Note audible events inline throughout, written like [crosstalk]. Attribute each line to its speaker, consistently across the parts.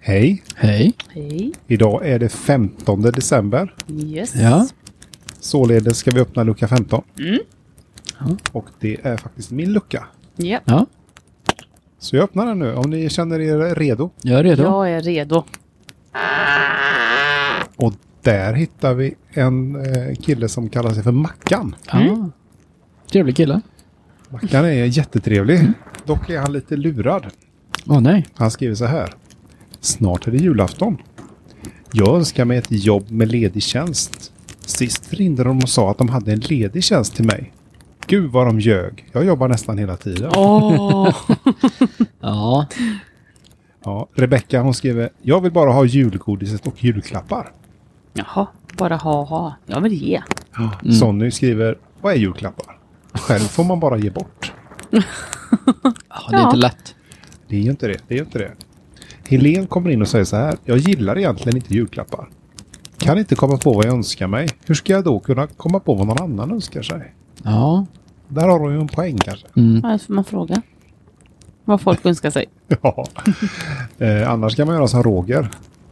Speaker 1: Hej!
Speaker 2: Hej.
Speaker 3: Hej.
Speaker 1: Idag är det 15 december.
Speaker 3: Yes.
Speaker 2: Ja.
Speaker 1: Således ska vi öppna lucka 15.
Speaker 3: Mm.
Speaker 2: Ja.
Speaker 1: Och det är faktiskt min lucka.
Speaker 3: Japp.
Speaker 2: Ja,
Speaker 1: Så jag öppnar den nu om ni känner er redo.
Speaker 2: jag är redo.
Speaker 3: Jag är redo.
Speaker 1: Och där hittar vi en eh, kille som kallar sig för Mackan.
Speaker 3: Mm.
Speaker 2: Ja. Trevlig kille.
Speaker 1: Mackan är jättetrevlig. Dock är han lite lurad.
Speaker 2: Åh nej.
Speaker 1: Han skriver så här. Snart är det julafton. Jag önskar mig ett jobb med ledig tjänst. Sist ringde de och sa att de hade en ledig tjänst till mig. Gud vad de ljög. Jag jobbar nästan hela tiden.
Speaker 3: Åh!
Speaker 2: Ja.
Speaker 1: Ja, Rebecka hon skriver. Jag vill bara ha julgodiset och julklappar.
Speaker 3: [laughs] Jaha, bara ha ha. Jag vill ge.
Speaker 1: Sonny skriver. Vad är julklappar? Själv får man bara ge bort.
Speaker 2: ja, det är inte lätt.
Speaker 1: Det är ju inte det. Det är ju inte det. Helen kommer in och säger så här. Jag gillar egentligen inte julklappar. Kan inte komma på vad jag önskar mig. Hur ska jag då kunna komma på vad någon annan önskar sig?
Speaker 2: Ja.
Speaker 1: Där har hon ju en poäng kanske.
Speaker 3: Här får man fråga. Vad folk önskar sig.
Speaker 1: [laughs] Ja. eh, annars kan man göra som Roger.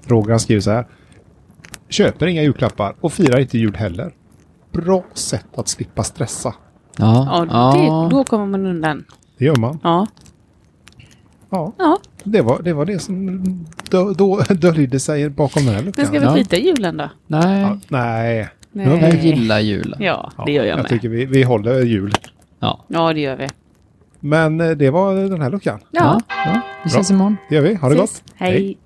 Speaker 1: Roger han skriver så här. Köper inga julklappar och firar inte jul heller. Bra sätt att slippa stressa.
Speaker 2: Ja.
Speaker 3: Ja, Det, då kommer man undan.
Speaker 1: Det gör man.
Speaker 3: Ja.
Speaker 1: Ja,
Speaker 3: ja.
Speaker 1: det var det, var det som då, då döljde sig bakom den här
Speaker 3: Men
Speaker 1: luckan.
Speaker 3: ska
Speaker 1: Vi...
Speaker 3: vi
Speaker 2: Ja.
Speaker 3: skita i julen då?
Speaker 1: Ja,
Speaker 2: Nej.
Speaker 1: nej.
Speaker 3: Nej.
Speaker 2: Jag gillar julen.
Speaker 3: Ja,
Speaker 1: Ja,
Speaker 3: det gör jag,
Speaker 1: jag
Speaker 3: med.
Speaker 1: tycker vi, vi håller jul.
Speaker 2: Ja.
Speaker 3: Ja, det gör vi.
Speaker 1: Men eh, det var den här luckan.
Speaker 3: Ja,
Speaker 2: ja. Vi ses imorgon.
Speaker 1: Det gör vi. Ha det
Speaker 3: ses.
Speaker 1: gott.
Speaker 3: Hej.